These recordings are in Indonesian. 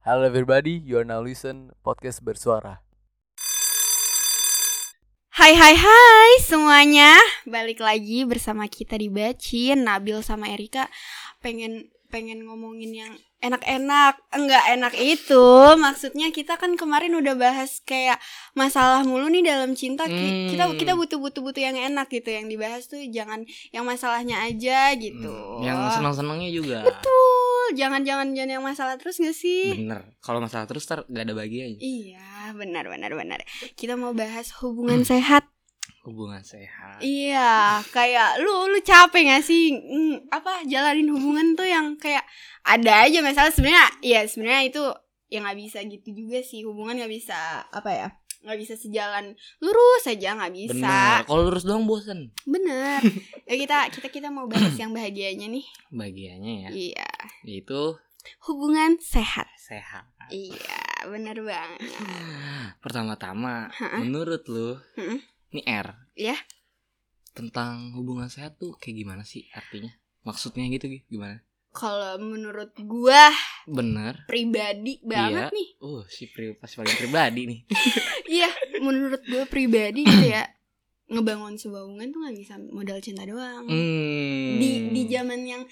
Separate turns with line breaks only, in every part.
Hello everybody, you are now listen podcast bersuara.
Hai hai hai semuanya Balik lagi bersama kita di Bacin Nabil sama Erika pengen pengen ngomongin yang enak-enak Enggak enak itu Maksudnya kita kan kemarin udah bahas kayak Masalah mulu nih dalam cinta
Hmm.
Ki- Kita kita butuh-butuh-butuh yang enak gitu Yang dibahas tuh jangan yang masalahnya aja gitu
Hmm, yang senang-senangnya juga
Betul Jangan-jangan jangan yang masalah terus gak sih?
bener kalau masalah terus ntar gak ada bahagianya
Iya benar benar benar Kita mau bahas hubungan sehat
hubungan sehat
Iya, kayak lu lu capek gak sih mm, apa jalanin hubungan tuh yang kayak ada aja masalah sebenarnya ya sebenarnya itu yang nggak bisa gitu juga sih hubungan nggak bisa apa ya nggak bisa sejalan lurus aja nggak
bener
bisa
kalau lurus doang bosen
bener, ya kita kita kita mau bahas yang bahagianya nih
bahagianya ya
iya
itu
hubungan sehat
sehat
iya bener banget
pertama-tama
Ha-ha.
menurut lu
Mm-mm.
ini R
Iya.
tentang hubungan sehat tuh kayak gimana sih artinya maksudnya gitu Gi? gimana
kalau menurut gua
bener
pribadi banget nih
uh si pri pas paling pribadi nih
Iya, menurut gue pribadi gitu ya ngebangun sebuah hubungan tuh nggak bisa modal cinta doang.
hmm.
Di di zaman yang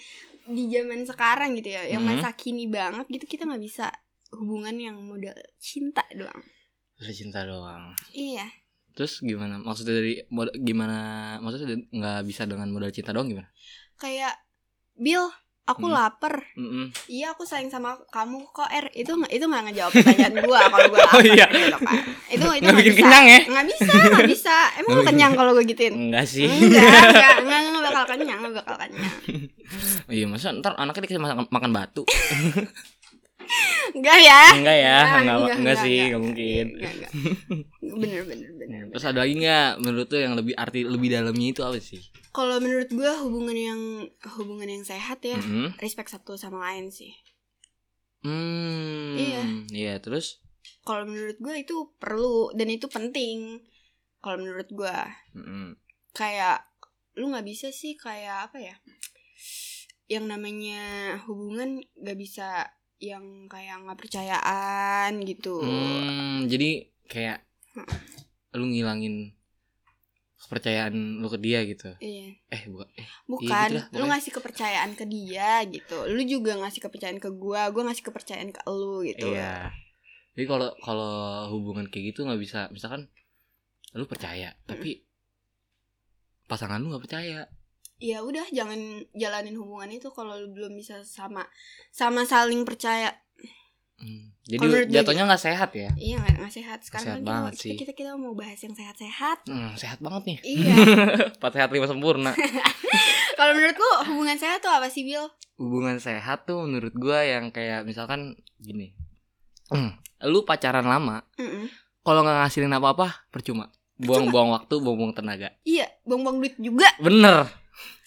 di zaman sekarang gitu ya, yang
Hmm.
masa kini banget gitu kita nggak bisa hubungan yang modal cinta doang.
Terus cinta doang
Iya,
terus gimana maksudnya dari mod- gimana maksudnya de- nggak bisa dengan modal cinta doang gimana
kayak Bill, aku
Hmm.
lapar.
Mm-mm.
Iya, aku sayang sama kamu kok. R itu nggak- itu nggak ngejawab pertanyaan gue kalau gue lapar.
Oh, iya.
gitu kan. Itu itu
nggak bikin
bisa.
kenyang ya
Nggak bisa, nggak bisa. Emang lu kenyang kalau gue gituin?
Enggak sih.
Enggak, enggak, enggak, enggak bakal kenyang, enggak bakal kenyang.
iya masa ntar anaknya dikasih makan, makan batu.
Enggak ya?
enggak ya, enggak enggak, sih,
enggak.
enggak mungkin. Ya,
Enggak, enggak. Bener, bener, bener.
Iya. Terus ada lagi enggak menurut tuh yang lebih arti lebih dalamnya itu apa sih?
Kalau menurut gue hubungan yang hubungan yang sehat ya,
Mm-mm.
respect satu sama lain sih.
Hmm.
Iya.
Iya, terus
Kalau menurut gue itu perlu dan itu penting. Kalau menurut gue
Mm-mm.
kayak lu nggak bisa sih kayak apa ya? Yang namanya hubungan nggak bisa yang kayak nggak percayaan gitu.
Hmm, jadi kayak lu ngilangin kepercayaan lu ke dia gitu.
Iya.
Eh, bukan. Eh,
Bukan,
gitulah,
lu
pokoknya.
ngasih kepercayaan ke dia gitu. Lu juga ngasih kepercayaan ke gua, gua ngasih kepercayaan ke lu gitu.
iya. Jadi kalau kalau hubungan kayak gitu nggak bisa misalkan lu percaya, tapi pasangan lu nggak percaya.
Ya udah jangan jalanin hubungan itu kalau lu belum bisa sama sama saling percaya.
Hmm. Jadi
Kalau menurut gue
jatuhnya nggak sehat ya?
Iya nggak nggak sehat
Sehat
sekarang kan
banget
kita,
sih.
kita kita mau bahas yang sehat-sehat.
Hmm, sehat banget nih.
Iya.
Empat sehat lima sempurna.
kalau menurut lu hubungan sehat tuh apa sih, Bill?
Hubungan sehat tuh menurut gua yang kayak misalkan gini. Hmm, lu pacaran lama,
Mm-mm.
kalau nggak ngasilin apa-apa, percuma. Buang-buang waktu, buang-buang tenaga.
Iya, buang-buang duit juga.
Bener,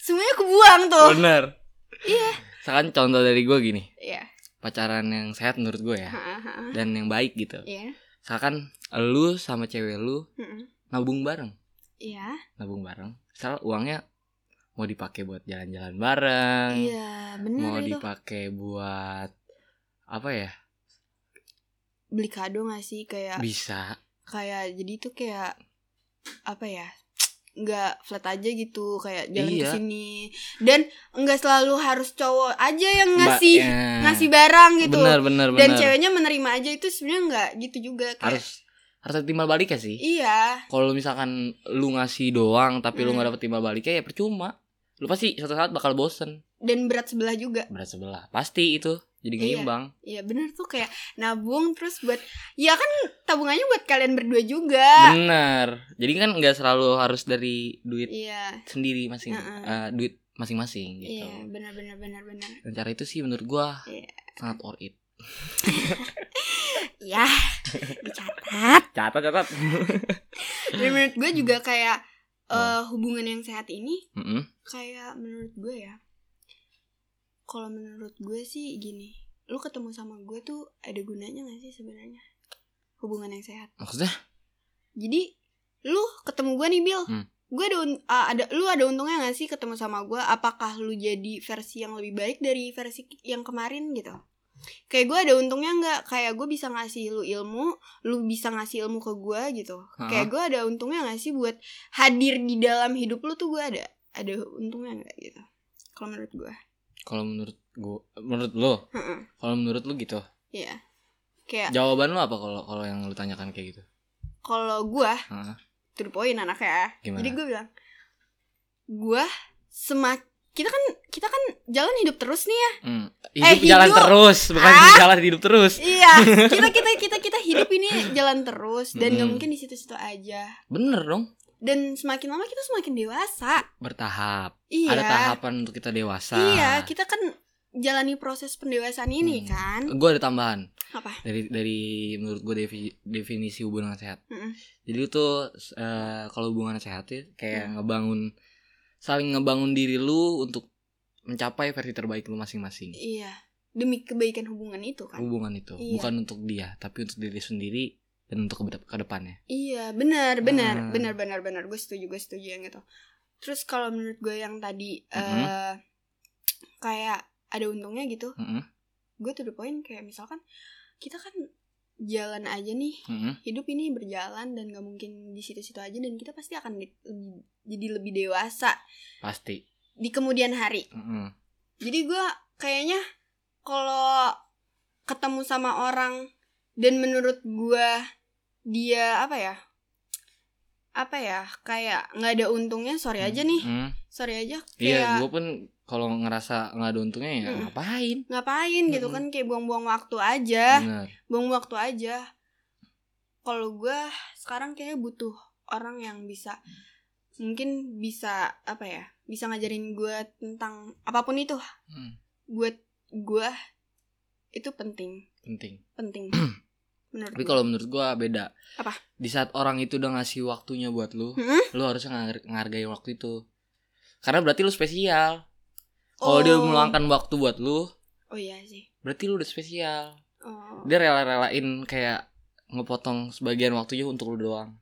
Semuanya kebuang tuh.
bener. Oh. Iya. Misalkan contoh dari gua gini,
Iya.
pacaran yang sehat menurut gua ya,
Ha-ha.
dan yang baik gitu.
Iya.
Misalkan lu sama cewek lu
Mm-mm.
nabung bareng,
Iya.
nabung bareng. Misal uangnya mau dipakai buat jalan-jalan bareng.
Iya,
Eh, mau
benar itu.
dipakai buat apa ya
Beli kado nggak sih kayak
bisa
kayak jadi tuh kayak apa ya nggak flat aja gitu kayak jalan
Iya.
ke sini dan nggak selalu harus cowok aja yang ngasih
Ba- ya.
ngasih barang gitu
bener bener
dan
bener.
ceweknya menerima aja itu sebenarnya nggak gitu juga kayak
harus harus ada timbal baliknya sih
iya
kalau misalkan lu ngasih doang tapi lu
Hmm.
nggak dapet timbal baliknya ya percuma lu pasti suatu saat bakal bosen
dan berat sebelah juga
berat sebelah pasti itu jadi
Iya.
ngimbang
iya bener tuh kayak nabung terus buat ya kan tabungannya buat kalian berdua juga
bener jadi kan nggak selalu harus dari duit
iya
sendiri masing
Heeh.
eh, duit masing-masing gitu
iya bener bener bener bener
dan cara itu sih menurut gua
Iya.
sangat worth it
ya dicatat
catat catat
dan menurut gue juga kayak eh, hubungan yang sehat ini
Mm-mm.
kayak menurut gue ya kalau menurut gue sih gini lu ketemu sama gue tuh ada gunanya gak sih sebenarnya hubungan yang sehat
maksudnya
jadi lu ketemu gue nih Bill
Hmm.
gue ada un- ah, ada lu ada untungnya gak sih ketemu sama gue apakah lu jadi versi yang lebih baik dari versi yang kemarin gitu kayak gue ada untungnya nggak kayak gue bisa ngasih lu ilmu lu bisa ngasih ilmu ke gue gitu
Hah?
kayak gue ada untungnya nggak sih buat hadir di dalam hidup lu tuh gue ada ada untungnya nggak gitu kalau menurut gue
Kalau menurut gua, menurut lo,
Heeh.
kalau menurut lo gitu,
Iya kayak
jawaban lo apa kalau kalau yang lo tanyakan kayak gitu?
kalau gue
Hah?
to the point anaknya
Gimana?
jadi gue bilang gue semak kita kan kita kan jalan hidup terus nih ya
Hmm. Hidup jalan
hidup!
terus, bukan
Ah!
jalan hidup terus.
iya kita kita kita kita hidup ini jalan terus dan nggak
Mm.
mungkin di situ-situ aja
Bener dong,
dan semakin lama kita semakin dewasa
bertahap.
iya
Ada tahapan untuk kita dewasa.
iya kita kan jalani proses pendewasaan ini
Hmm.
kan
Gue ada tambahan.
Apa?
Dari dari menurut gue definisi hubungan sehat.
Mm-mm.
Jadi itu tuh eh, kalau hubungan sehat ya kayak
Hmm.
ngebangun saling ngebangun diri lu untuk mencapai versi terbaik lu masing-masing.
iya demi kebaikan hubungan itu kan
Hubungan itu
Iya.
bukan untuk dia, tapi untuk diri sendiri dan untuk ke ke depannya.
Iya, benar, benar,
Hmm.
benar, benar, benar. Gue setuju, gue setuju yang itu. Terus kalau menurut gue yang tadi eh
Mhm.
kayak ada untungnya gitu,
Mm-mm,
gue to the point kayak misalkan kita kan jalan aja nih
mm-mm.
hidup ini berjalan dan gak mungkin di situ-situ aja dan kita pasti akan di- lebih- jadi lebih dewasa
Pasti.
di kemudian hari.
Mm-mm.
Jadi gue kayaknya kalau ketemu sama orang dan menurut gue dia apa ya? Apa ya? Kayak nggak ada untungnya, sorry aja nih.
Mm.
Sorry aja kayak
Iya, gue pun kalau ngerasa nggak ada untungnya ya
Mm-mm.
ngapain?
ngapain gitu
Mm-mm.
kan kayak buang-buang waktu aja,
Bener.
buang waktu aja. Kalau gue sekarang kayaknya butuh orang yang bisa mungkin bisa apa ya? Bisa ngajarin gue tentang apapun itu
Mm,
buat gue itu penting
Penting.
penting menurut
Tapi
gua.
kalau menurut gua beda.
Apa?
Di saat orang itu udah ngasih waktunya buat lu,
Mm-mm.
lu harusnya ngar- ngehargai waktu itu. Karena berarti lu spesial. Kalau dia
Oh.
meluangkan waktu buat lu,
oh iya sih
berarti lu udah spesial.
oh
Dia rela-relain kayak ngepotong sebagian waktunya untuk lu doang.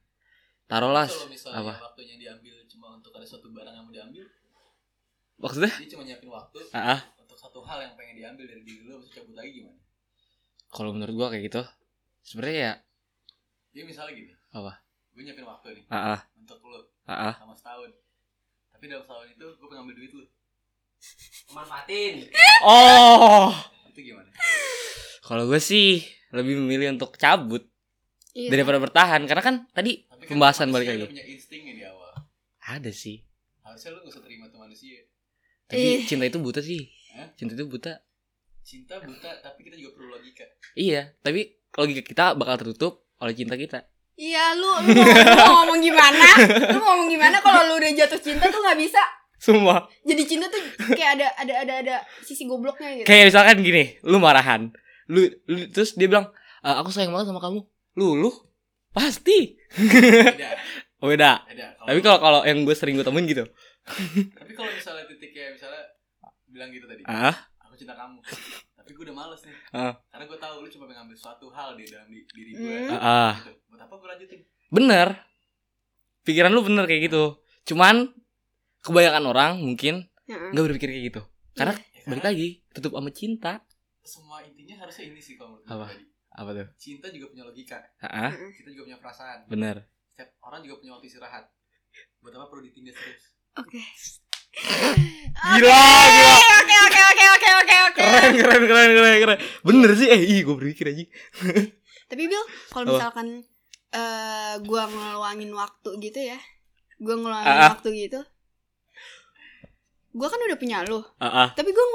Taruhlah
Kalau misalnya
apa?
waktunya diambil cuma untuk ada suatu barang yang mau diambil,
Maksudnya?
dia cuma nyiapin waktu
Ah, ah.
untuk satu hal yang pengen diambil dari diri lu, bisa cabut lagi gimana?
Kalau menurut gua kayak gitu. Sebenarnya ya,
Jadi misalnya gini,
Apa?
Gue nyiapin waktu nih
ah ah,
untuk lu
ah ah.
sama setahun. Tapi dalam setahun itu gue pengambil duit lu. Manfaatin.
Oh,
itu gimana?
kalau gue sih lebih memilih untuk cabut
iya.
daripada bertahan karena kan tadi
Tapi kan
pembahasan balik
manusia
lagi.
udah punya insting ya di awal.
Ada sih.
Harusnya lu gak usah terima tuh manusia.
Tapi
Ih.
cinta itu buta sih.
Iya. Hah?
Cinta itu buta.
Cinta buta, tapi kita juga perlu logika.
Iya, tapi logika kita bakal tertutup oleh cinta kita.
iya lu lu mau, lu mau ngomong gimana lu mau ngomong gimana kalau lu udah jatuh cinta tuh nggak bisa
Sumpah.
jadi cinta tuh kayak ada ada ada ada sisi gobloknya gitu
Kayak misalkan gini, lu marahan. Lu, lu- terus dia bilang, "Eh, "Aku sayang banget sama kamu." Lu, lu pasti.
Beda,
Oh, beda.
beda. Kalau-
Tapi kalau kalau yang gue sering gue temuin gitu.
tapi kalau misalnya titik kayak misalnya bilang gitu tadi,
Ah,
aku cinta kamu. tapi gue udah males nih.
Ah.
Karena gue tahu lu cuma pengen ngambil suatu hal di dalam di- diri gue.
Hmm.
ah, ah.
Gitu. Buat apa gue lanjutin?
Bener. Pikiran lu bener kayak gitu. Cuman kebanyakan orang mungkin
Heeh.
nggak berpikir kayak gitu. Karena
Ya,
balik
karena
lagi, tutup sama cinta.
semua intinya harusnya ini sih kalau menurut
kan- Apa?
gue tadi.
Apa tuh?
Cinta juga punya logika.
Ah, ah,
Heeh.
Kita juga punya perasaan.
bener.
Setiap orang juga punya waktu istirahat. Buat apa perlu ditindas terus?
oke
Gila, gila.
oke oke oke oke oke oke
keren keren keren keren keren bener sih eh ih gue berpikir aja
tapi Bill kalau
Apa?
misalkan eh gue ngeluangin waktu gitu ya gue ngeluangin
Ah, ah.
waktu gitu gue kan udah punya lo
ah ah
tapi gue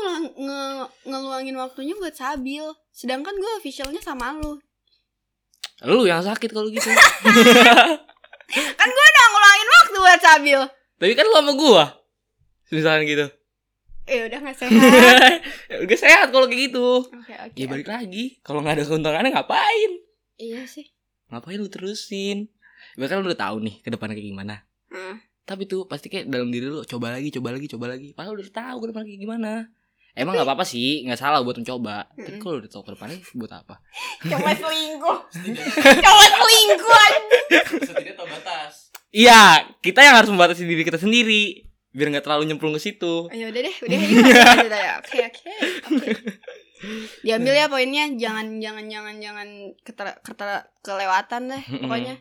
ngeluangin waktunya buat Sabil sedangkan gue officialnya sama lu
lu yang sakit kalau gitu
udah ngeluangin waktu buat Sabil
tapi kan lu sama gua misalkan gitu
eh udah nggak sehat
udah sehat kalau kayak gitu
oke oke
ya balik lagi kalau nggak ada keuntungannya ngapain
iya sih
ngapain lu terusin bahkan lu udah tahu nih ke depannya kayak gimana
Heeh.
tapi tuh pasti kayak dalam diri lu coba lagi coba lagi coba lagi padahal udah tahu ke depannya kayak gimana Emang nggak apa-apa sih, nggak salah buat mencoba. Tapi
Mm-mm.
kalau udah tahu ke depannya buat apa?
coba selingkuh
Setidaknya,
coba selingkuh aja.
setidaknya tau batas.
Iya, kita yang harus membatasi diri kita gitu. sendiri biar nggak terlalu nyemplung ke situ.
ya udah deh udah yuk, lanjut aja. oke oke oke diambil
Iya.
ya poinnya jangan jangan jangan jangan ketera- ketera- kelewatan deh pokoknya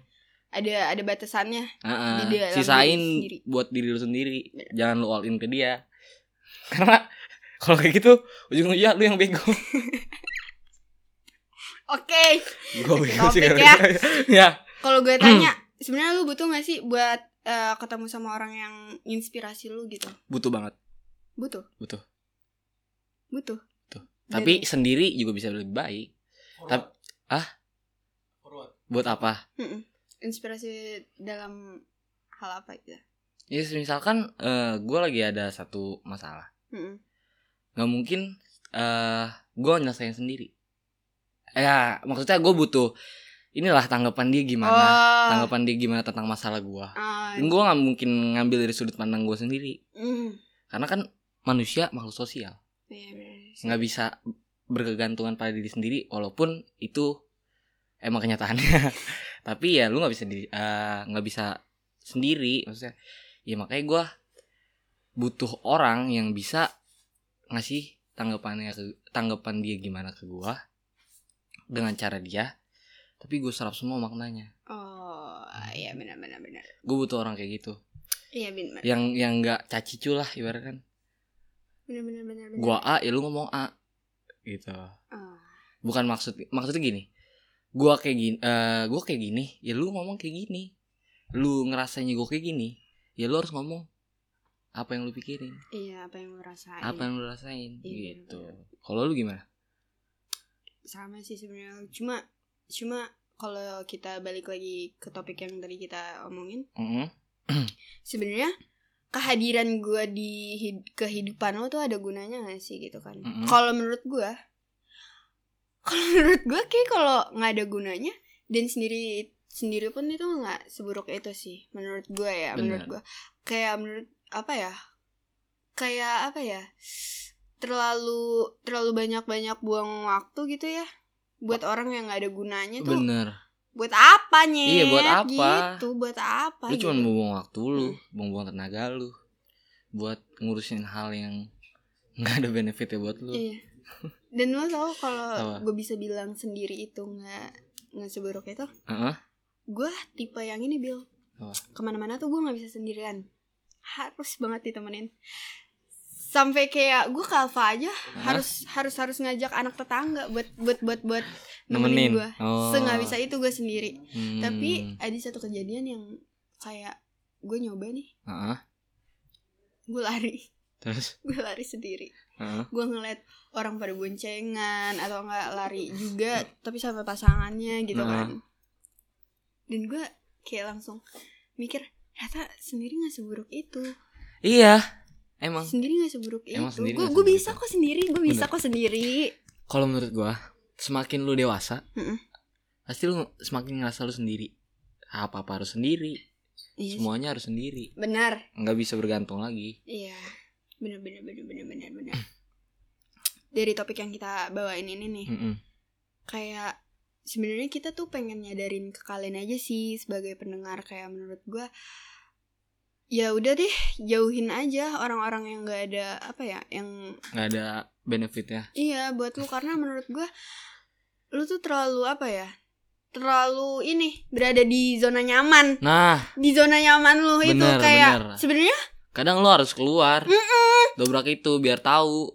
ada ada batasannya
Heeh.
Di dalam
sisain
diri sendiri. Iya.
buat diri lu sendiri jangan lu all in ke dia karena kalau kayak gitu ujung-ujungnya lu yang bego
oke
gue bego sih
Topik
ya. ya
kalau gue tanya sebenarnya lu butuh gak sih buat eh, ketemu sama orang yang inspirasi lu gitu
butuh banget
butuh
Butuh.
butuh
Butuh.
Dan-
tapi sendiri juga bisa lebih baik Tapi- ah?
Forward.
buat apa
Mm-mm. inspirasi dalam hal apa gitu
ya misalkan eh gue lagi ada satu masalah
Mm-mm.
nggak mungkin eh gue nyelesain sendiri ya maksudnya gue butuh inilah tanggapan dia gimana
Oh,
tanggapan dia gimana tentang masalah gue
ah,
gue nggak mungkin ngambil dari sudut pandang gue sendiri
mm.
karena kan manusia makhluk sosial
Iya, bener sih.
nggak bisa berkegantungan pada diri sendiri walaupun itu emang kenyataannya tapi ya lu nggak bisa di- eh, nggak bisa sendiri maksudnya ya makanya gua butuh orang yang bisa ngasih tanggapannya ke- tanggapan dia gimana ke gua dengan cara dia tapi gue serap semua maknanya
oh iya benar benar benar
gue butuh orang kayak gitu
iya benar
yang yang nggak cacicu lah ibaratkan
benar benar benar benar.
gua A ya lu ngomong A gitu
Ah,
bukan maksud maksudnya gini gua kayak gini eh gua kayak gini ya lu ngomong kayak gini lu ngerasanya gua kayak gini ya lu harus ngomong apa yang lu pikirin
iya apa yang lu rasain
apa yang lu rasain
Iya,
gitu kalau lu gimana
sama sih sebenarnya cuma cuma kalau kita balik lagi ke topik yang tadi kita omongin
Mm-mm.
sebenarnya kehadiran gue di hid- kehidupan lo tuh ada gunanya gak sih gitu kan
Mm-mm.
kalau menurut gue kalau menurut gue kayak kalau nggak ada gunanya dan sendiri sendiri pun itu nggak seburuk itu sih menurut gue ya menurut
Benar.
gue kayak menurut apa ya kayak apa ya terlalu terlalu banyak banyak buang waktu gitu ya buat orang yang nggak ada gunanya tuh
bener
buat apa nyet
Iya, buat apa?
gitu buat apa
lu
gitu.
cuma buang waktu lu buang-buang tenaga lu buat ngurusin hal yang nggak ada benefitnya buat lu
Iya. Dan lo tau kalau
gitu. Apa?
gue bisa bilang sendiri itu nggak nggak seburuk itu?
Heeh.
Gue tipe yang ini Bill.
Apa?
Kemana-mana tuh gue nggak bisa sendirian. Harus banget ditemenin. Sampai kayak gue kalfa aja harus harus harus ngajak anak tetangga buat buat buat buat nemenin,
nemenin
gue.
Oh.
Se nggak bisa itu gue sendiri.
Hmm.
Tapi ada satu kejadian yang kayak gue nyoba nih,
Heeh.
gue lari,
terus
gue lari sendiri.
Heeh.
gue ngeliat orang pada boncengan atau enggak lari juga tapi sama pasangannya gitu
Nah.
kan dan gue kayak langsung mikir ternyata sendiri nggak seburuk itu
iya emang
sendiri nggak seburuk
Emang
itu
sendiri
gue
nggak
gue
seburuk
bisa
itu.
kok sendiri gue bisa kok sendiri
kalau menurut gua semakin lu dewasa
Mm-mm.
pasti lu semakin ngerasa lu sendiri apa apa harus sendiri
Iya,
semuanya harus sendiri
benar
nggak bisa bergantung lagi
iya benar benar benar benar benar benar
Hmm.
dari topik yang kita bawain ini nih
Mm-mm.
kayak sebenarnya kita tuh pengen nyadarin ke kalian aja sih sebagai pendengar kayak menurut gua ya udah deh jauhin aja orang-orang yang nggak ada apa ya yang
nggak ada benefitnya
iya buat lu karena menurut gua lu tuh terlalu apa ya terlalu ini berada di zona nyaman
nah
di zona nyaman lu itu
Bener,
kayak
bener.
sebenarnya
kadang lu harus keluar dobrak itu biar tahu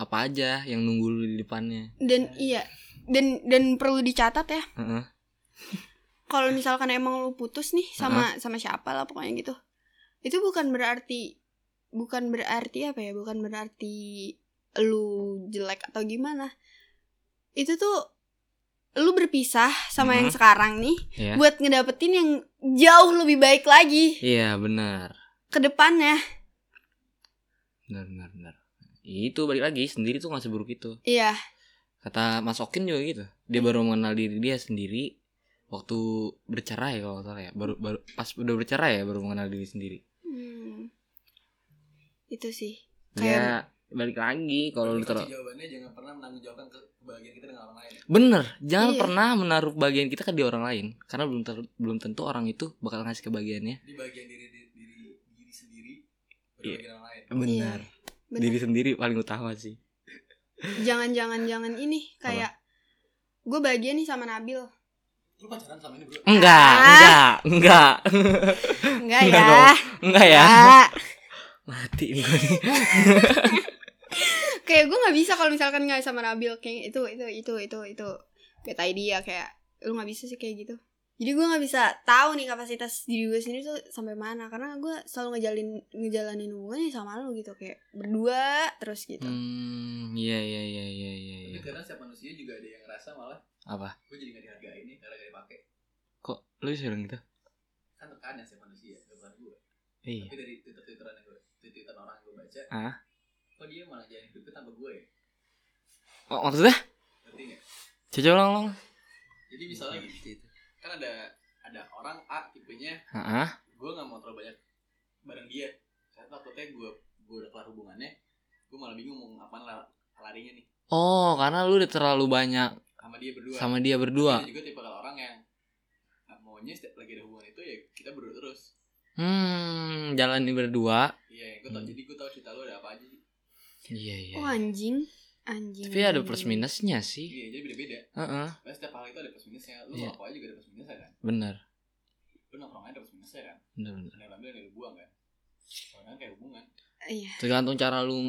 apa aja yang nunggu lu di depannya
dan iya dan dan perlu dicatat ya
Heeh.
kalau misalkan emang lu putus nih sama sama siapa lah pokoknya gitu itu bukan berarti bukan berarti apa ya bukan berarti lu jelek atau gimana itu tuh lu berpisah sama yang
Mhm.
sekarang nih
Iya.
buat ngedapetin yang jauh lebih baik lagi
iya benar
ke depannya
benar benar benar itu balik lagi sendiri tuh nggak seburuk itu
iya
kata Mas Okin juga gitu dia baru mengenal diri dia sendiri waktu bercerai kalau nggak salah ya baru baru pas udah bercerai ya baru mengenal diri sendiri
Hmm. itu sih
ya balik lagi kalau lu
Kunci
taruh
jawabannya jangan pernah menanggung jawabkan ke kebahagiaan kita dengan orang lain.
bener jangan
Iya.
pernah menaruh bagian kita ke dia orang lain karena belum ter- belum tentu orang itu bakal ngasih kebagiannya
Ini bagian diri diri diri, diri sendiri
Iya.
bagian orang lain.
bener
bener.
diri sendiri paling utama sih
jangan jangan jangan ini kayak gue bahagia nih sama Nabil
Lu pacaran sama ini bro?
Enggak,
Ah.
enggak, enggak,
enggak
Enggak
ya
dong. enggak ya.
enggak
Mati gue nih.
kayak gue nggak bisa kalau misalkan nggak sama Nabil kayak itu itu itu itu itu beta dia kayak lu nggak bisa sih kayak gitu jadi gue nggak bisa tahu nih kapasitas diri gue sendiri tuh sampai mana karena gue selalu ngejalin ngejalanin hubungannya sama lu gitu kayak berdua terus gitu
Hmm, iya iya iya iya iya.
Tapi
iya.
karena setiap manusia juga ada yang ngerasa malah
Apa?
Gue jadi gak dihargain nih karena gak dipakai
Kok lu bisa bilang gitu?
Kan tekanan setiap manusia, bukan gue
Iya.
Tapi dari Twitter-Twitteran yang gue Twitter orang yang gue baca
Ah.
Kok dia malah jadi hidupnya tanpa gue ya?
Oh, maksudnya?
Ngerti gak?
Coba ulang ulang.
Jadi
Iya,
misalnya gitu Kan ada ada orang A tipenya
Heeh.
gue nggak mau terlalu banyak bareng dia karena takutnya gue gue udah kelar hubungannya gue malah bingung mau ngapain lar- larinya nih
Oh, karena lu udah terlalu banyak
sama dia berdua Iya,
sama dia
Dia
berdua.
juga tipe kalau orang yang ah, maunya setiap lagi ada hubungan itu ya kita berdua terus
Hmm, jalani berdua.
iya gue tau
Hmm.
jadi gue tau cerita lu ada apa aja sih
Iya iya.
oh anjing anjing
Tapi ada plus minusnya sih.
iya jadi beda beda
Heeh,
karena setiap hal itu ada plus minusnya lu
Iya.
yeah. aja juga ada plus minusnya kan
bener
lu nongkrong aja ada plus minusnya kan
bener bener.
ada yang ambil ada yang buang kan karena kayak hubungan
iya
Tergantung cara lu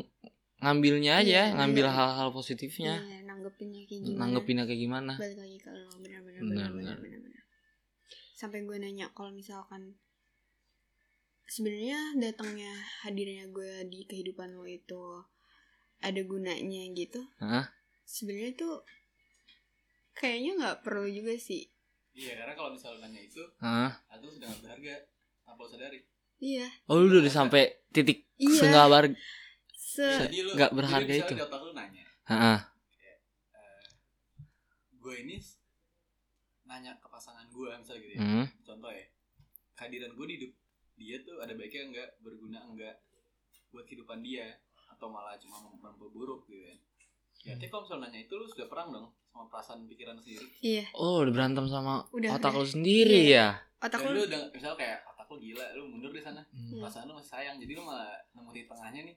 ngambilnya aja,
Iya,
ngambil
iya.
hal-hal positifnya,
iya nanggepinnya kayak
Hmm,
gimana
nanggepinnya kayak gimana.
balik lagi ke lo benar-benar
Benar,
benar-benar benar-benar sampai gue nanya kalau misalkan sebenarnya datangnya hadirnya gue di kehidupan lo itu ada gunanya gitu
Hah?
sebenarnya tuh kayaknya nggak perlu juga sih
iya karena kalau misalnya lu nanya itu
Heeh.
atau sedang berharga tanpa lu sadari
iya
Oh, lu udah sampai titik
Iya.
seenggak bar.
se
jadi lu
Eh, nggak berharga
jadi misalnya
itu.
di otak lu nanya
Heeh.
gue ini s- nanya ke pasangan gue misalnya gitu ya
Hmm.
contoh ya kehadiran gue di hidup dia tuh ada baiknya enggak berguna enggak buat kehidupan dia atau malah cuma mem- memperburuk gitu ya ya tapi kalau misalnya nanya itu lu sudah perang dong sama perasaan pikiran lu sendiri
iya
Oh, udah berantem sama
Udah, Iya.
otak
udah.
lu sendiri ya.
otak
dan lu
lo
udah misal kayak otak lu gila lu mundur di sana
Iya.
Hmm.
perasaan lu masih sayang jadi lu malah nemu di tengahnya nih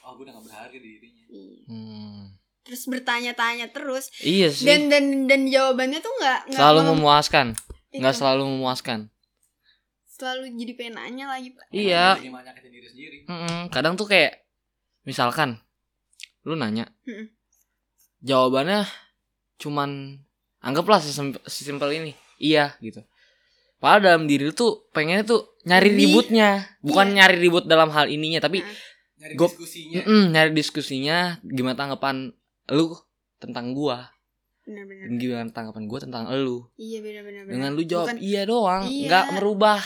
oh gue udah gak berharga di dirinya
Iya.
Hmm.
terus bertanya-tanya terus
Iya sih.
dan dan dan jawabannya tuh nggak nggak Iya.
selalu
melem-
memuaskan, nggak
itu.
selalu memuaskan.
selalu jadi penanya lagi Pak.
Iya.
Jadi malah nyakitin diri sendiri
Mm-mm, kadang tuh kayak misalkan lu nanya,
Mm-mm.
jawabannya cuman anggaplah sesim- sesimpel ini, iya gitu. Padahal dalam diri lu tuh pengennya tuh nyari
Lebih.
ributnya, bukan
Iya.
nyari ribut dalam hal ininya, tapi
Nah.
nyari
Gua-
diskusinya
mm-mm, nyari diskusinya gimana tanggapan lu tentang gua, dan
benar-benar
gimana tanggapan gua tentang elu.
iya benar-benar
Dengan lu jawab
Bukan-
iya doang,
Iya.
nggak merubah.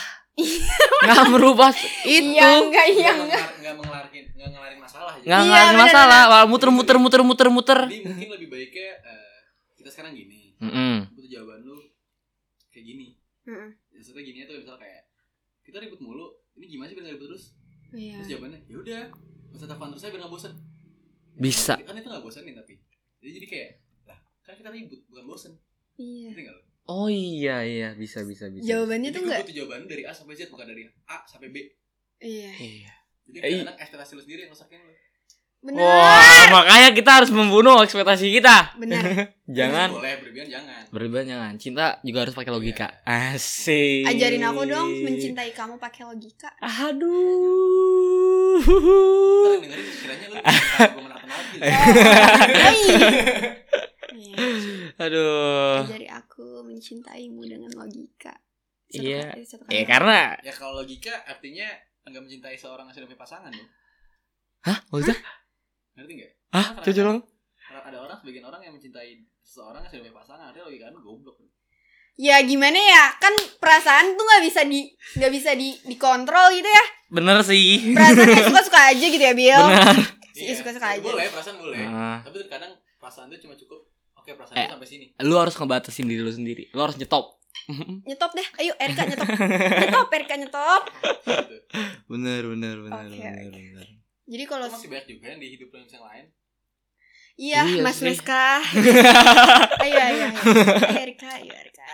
nggak merubah itu.
iya enggak iya
Nggak
enggak
mengelar- nggak mengelarin nggak ngelarin masalah aja
nggak
Iya,
ngalahin
benar,
masalah malah muter muter muter muter muter
Jadi mungkin lebih baiknya eh, kita sekarang gini.
Mm-mm.
Butuh jawaban lu kayak gini.
Iya.
Heeh.
Ya setelah gini tuh misalnya kayak kita ribut mulu. Ini gimana sih biar nggak ribut terus?
Iya.
Terus jawabannya ya udah. Masa telepon terus aja biar nggak bosan.
bisa
Kan itu nggak bosan nih tapi. Jadi jadi kayak lah kan kita ribut bukan bosan.
Iya.
Ngerti nggak lu?
oh iya iya bisa bisa bisa
Jawabannya
Jadi
tuh
gua
enggak
butuh jawaban dari A sampai Z bukan dari A sampai B.
iya.
Iya.
Jadi
Eh,
kadang ekspektasi lu sendiri yang rusakin lu.
Benar.
wah makanya kita harus membunuh ekspektasi kita
Benar.
jangan
Boleh berlebihan jangan.
berlebihan jangan cinta juga harus pakai logika asik
Ajarin aku dong mencintai kamu pakai logika.
aduh
Ntar yang dengerin kiranya lu gue menang lagi.
Oh,
Eh.
iya.
aduh
Ajari aku mencintaimu dengan logika.
Iya.
kata- satu kata.
ya karena
Ya kalau logika artinya nggak mencintai seorang yang sudah punya pasangan dong.
hah maksudnya
Ngerti nggak?
hah
Karena-
coba dong
Karena ada orang sebagian orang yang mencintai seseorang yang sudah punya pasangan, artinya logika lu goblok.
Ya gimana ya? Kan perasaan tuh nggak bisa di nggak bisa di dikontrol gitu ya.
bener sih
Perasaan ya suka-suka aja gitu ya, Bill.
bener
Iya, suka-suka aja.
Boleh, perasaan boleh.
Ah.
Tapi terkadang perasaan itu cuma cukup oke perasaan
Eh.
itu sampai sini.
lu harus ngebatasin diri lu sendiri lu harus nyetop
Nyetop deh. Ayo Erika nyetop. nyetop Erika nyetop.
Gitu.
bener bener
bener, Oke, bener,
bener
Jadi kalau
Tapi masih banyak juga yang di hidup lu yang lain.
Iya,
Iya
Mas Iya,
sih.
Miska. ayo, ayo, ayo. Ayo, Erika, ayo, Erika.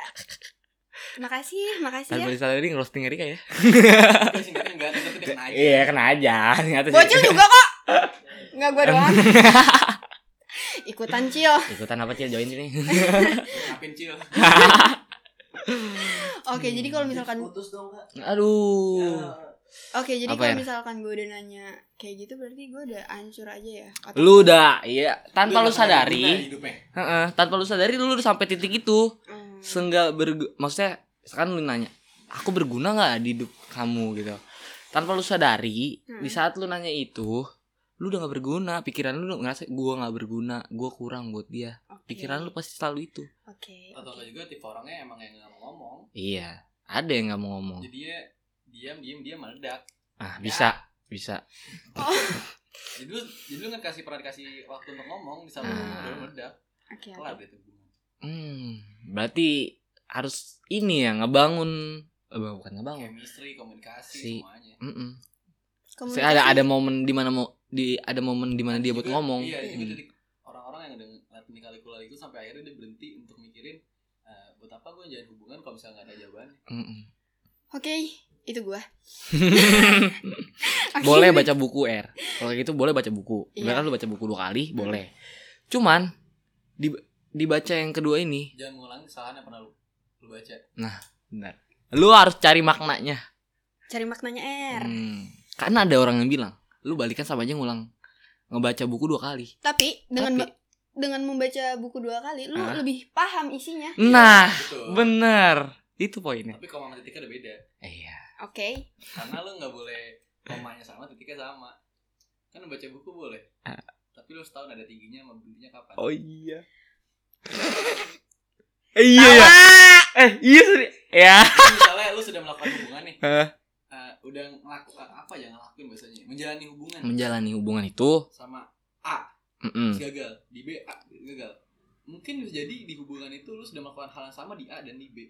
Makasih, makasih ya.
Tanpa disadari ini ngerosting Erika ya
Tapi sini kan enggak, tapi dia
Iya.
naik.
kena aja Ternyata sih.
Bocil juga kok. Enggak gua doang. ikutan cil
ikutan apa cil join sini
Ngapain cil?
oke jadi kalau misalkan oke
putus dong kak
Ya.
aduh
jadi
Apa
kalau
ya?
misalkan gue udah nanya kayak gitu berarti gue udah hancur aja ya Otak-
lu udah iya tanpa lu
nggak pernah berguna
sadari
hidupnya.
Heeh, tanpa lu sadari lu udah sampai titik itu
Hmm.
seenggak bergu maksudnya sekarang lu nanya aku berguna nggak di hidup kamu gitu tanpa lu sadari
Hmm.
di saat lu nanya itu lu udah nggak berguna pikiran lu ngerasa gua nggak berguna gua kurang buat dia
Oke.
pikiran lu pasti selalu itu
oke
Atau
oke.
nggak juga tipe orangnya emang yang nggak mau ngomong.
iya ada yang nggak mau ngomong
Jadi dia diam diam dia meledak.
ah bisa bisa
Jadi lu jadi lu nggak kasih pernah dikasih waktu untuk ngomong di samping
Ah.
udah meledak.
oke
Kelar
oke
deh tuh hubungan.
hmm berarti harus ini ya ngebangun eh, bukan ngebangun
Chemistry, komunikasi
Si.
semuanya.
Mm-mm.
Komunikasi-
ada ada momen di mana mau di ada momen di mana dia buat
Juga-
ngomong
Iya, juga
Hmm.
titik orang-orang yang dengan Latin di kalikular itu sampai akhirnya dia berhenti untuk mikirin eh, buat apa gue jalan hubungan kalau misalnya nggak ada jawabannya.
Mm-mm.
oke itu gue
boleh baca buku R kalau gitu boleh baca buku
Iya.
Bahkan lu baca buku dua kali boleh cuman di dibaca yang kedua ini
Jangan mengulangi kesalahan yang pernah lu, lu baca.
lu harus cari maknanya
cari maknanya Er. R
Hmm. karena ada orang yang bilang lu balikan sama aja ngulang ngebaca buku dua kali
tapi dengan
Tapi-
dengan membaca buku dua kali lu
Hah?
lebih paham isinya
Iya.
nah
Betul.
bener itu poinnya
Tapi koma sama titiknya udah beda.
iya
oke
Karena lu nggak boleh komanya sama, titiknya sama. Kan baca buku boleh.
Ah.
Tapi lu harus tahu nada tingginya sama bunyinya kapan.
oh iya Eh, iya ya
Tawa!
eh iya seri ya
Jadi misalnya lu sudah melakukan hubungan nih.
Hah?
Eh, udah ngelakuin apa ya ngelakuin biasanya? Menjalani hubungan
menjalani hubungan itu
sama A
mm-mm.
gagal di B A, gagal mungkin bisa jadi di hubungan itu lu sudah melakukan hal yang sama di A dan di B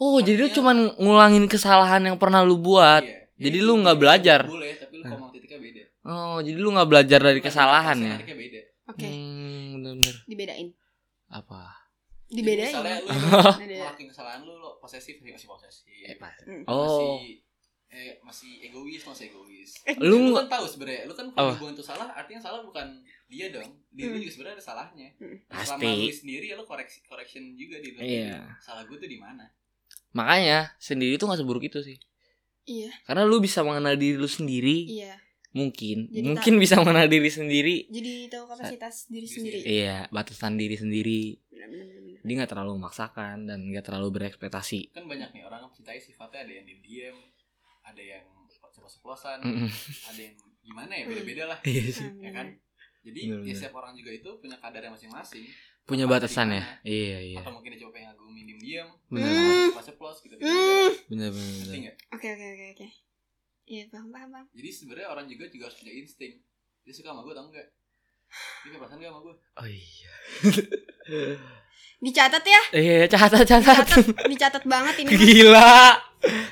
oh jadi lu cuman ngulangin kesalahan yang pernah lu buat
Iya.
Ah, jadi lu nggak belajar?
boleh tapi lu ngomong titiknya beda
oh jadi lu nggak belajar dari
Bukan,
kesalahan ya
titiknya beda
oke
Hmm, bener-bener.
dibedain
Apa?
dibedain
misalnya lu
Beda.
ngelakuin kesalahan lu lo posesif masih masih posesif
Oh,
masih eh, masih egois masih egois
lu Oh.
lu
nggak-
kan tahu sebenarnya lu kan
Apa?
kalau hubungan itu salah artinya salah bukan dia dong diri lu juga sebenarnya ada salahnya
Hmm.
selama
Pasti.
lu sendiri ya lu koreksi correction juga di lu
Iya.
salah gue tuh di mana
makanya sendiri itu nggak seburuk itu sih.
iya
Karena lu bisa mengenal diri lu sendiri,
iya
mungkin,
Jadi
mungkin bisa mengenal diri sendiri.
jadi tahu kapasitas
Diri
diri sendiri
Iya, batasan diri sendiri.
Benar, benar, benar, benar.
Dia nggak terlalu memaksakan dan nggak terlalu berekspektasi.
kan banyak nih orang yang mencintai sifatnya ada yang diam ada yang ceplos-ceplosan
Mm-mm.
ada yang gimana ya beda-beda lah
Iya sih.
Ah,
ya kan jadi ya
Bener, bener.
setiap orang juga itu punya kadarnya masing-masing
Punya
Apa
batasan ya.
gimana?
Iya, iya.
atau mungkin dia coba pengen ngagumin diam-diam
Benar,
Hmm.
ceplos-ceplos gitu
Hmm.
gitu
benar, benar. benar.
oke oke oke oke iya paham paham paham
jadi sebenarnya orang juga juga harus punya insting dia suka sama gue atau enggak dia punya perasaan gak sama gue
Oh iya.
dicatat ya
Iya, catat, catat.
dicatat dicatat banget ini
Gila.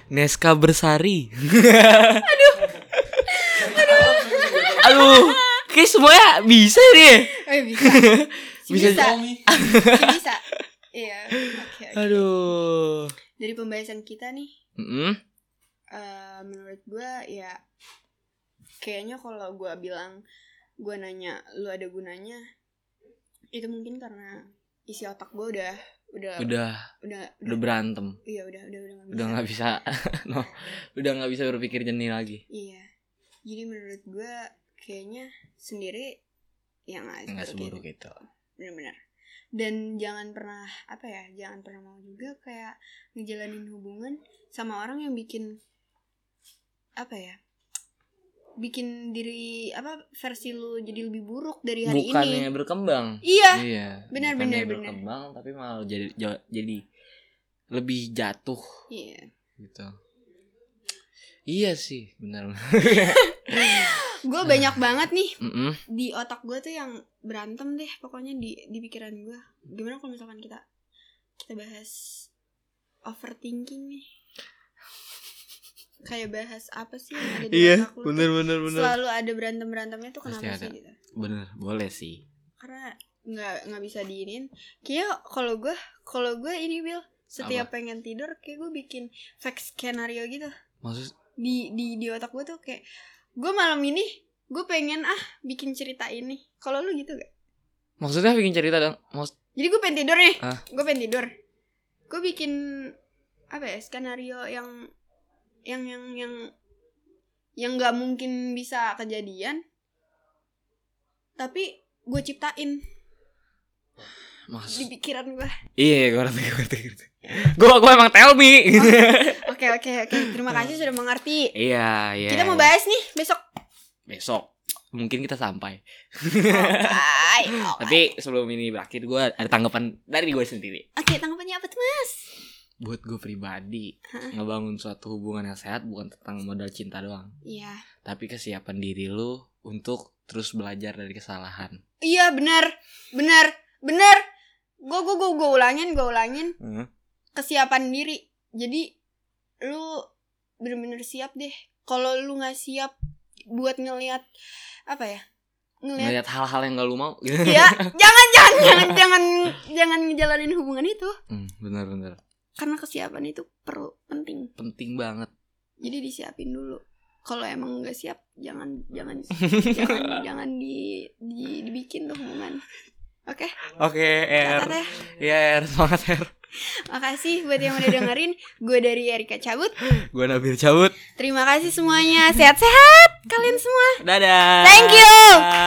Neska bersari. Aduh, kayak semuanya bisa deh.
eh bisa Si
Bisa
bisa
nih
Si bisa iya oke oke
Aduh.
dari pembahasan kita nih
Mm-mm.
eh, menurut gue ya kayaknya kalau gue bilang gue nanya lu ada gunanya itu mungkin karena isi otak gue udah udah
Udah,
udah
udah berantem,
iya udah udah udah nggak
udah
bisa.
nggak bisa, no, udah nggak bisa berpikir jernih lagi.
iya jadi menurut gue kayaknya sendiri ya yang
Nggak seburuk ya. itu.
benar-benar dan jangan pernah apa ya jangan pernah mau juga kayak ngejalanin hubungan sama orang yang bikin apa ya bikin diri apa versi lu jadi lebih buruk dari hari
Bukannya
ini
berkembang.
iya
Iya.
benar,
bukannya
benar, benar.
Berkembang, tapi malah jadi ja- jadi lebih jatuh
iya
gitu. Iya sih, benar.
gue banyak banget nih
Mm-mm.
di otak gue tuh yang berantem deh pokoknya di di pikiran gue gimana kalau misalkan kita kita bahas overthinking nih kayak bahas apa sih yang ada di
Iya,
otak lu tuh?
benar,
selalu ada berantem berantemnya tuh
Pasti
kenapa sih
ada.
gitu
Bener, boleh sih.
karena nggak nggak bisa diinin kayak kalau gue kalau gue ini Bill setiap pengen tidur kayak gue bikin fake skenario gitu
Maksud
di di di otak gue tuh kayak gue malam ini gue pengen ah bikin cerita ini kalau lu gitu gak
maksudnya bikin cerita dong Maksud-
Jadi gue pengen tidur nih.
Ah.
Gue pengen tidur. Gue bikin apa ya skenario yang yang yang yang yang nggak mungkin bisa kejadian. Tapi gue ciptain
maksud
di pikiran gue.
iya gue ngerti gue ngerti gue gue emang tell me
Oke oke oke. Terima kasih sudah mengerti.
iya Ah. iya
Kita mau bahas nih besok.
besok mungkin kita sampai
Oh, Oke.
tapi sebelum ini berakhir gue ada tanggapan dari gue sendiri
Oke, tanggapannya apa tuh, Mas?
buat gue pribadi ngebangun suatu hubungan yang sehat bukan tentang modal cinta doang
Iya.
tapi kesiapan diri lu untuk terus belajar dari kesalahan
Iya, benar. Benar. Benar. Gue gue gue gue ulangin, gue ulangin
Hmm.
kesiapan diri. Jadi lu bener-bener siap deh. Kalau lu nggak siap buat ngelihat apa ya? Ngelihat
ngeliat hal-hal yang gak lu mau gitu.
ya, jangan jangan jangan jangan jangan ngejalanin hubungan itu
Hmm, bener-bener
karena kesiapan itu perlu penting.
penting banget
Jadi disiapin dulu. Kalau emang nggak siap, jangan jangan jangan jangan di, di dibikin tuh hubungan. Oke,
oke
catat ya.
ya R semangat R
Makasih buat yang udah dengerin. Gue dari Erika cabut.
gue Nabil cabut
Terima kasih semuanya. Sehat-sehat kalian semua.
dadah
Thank you.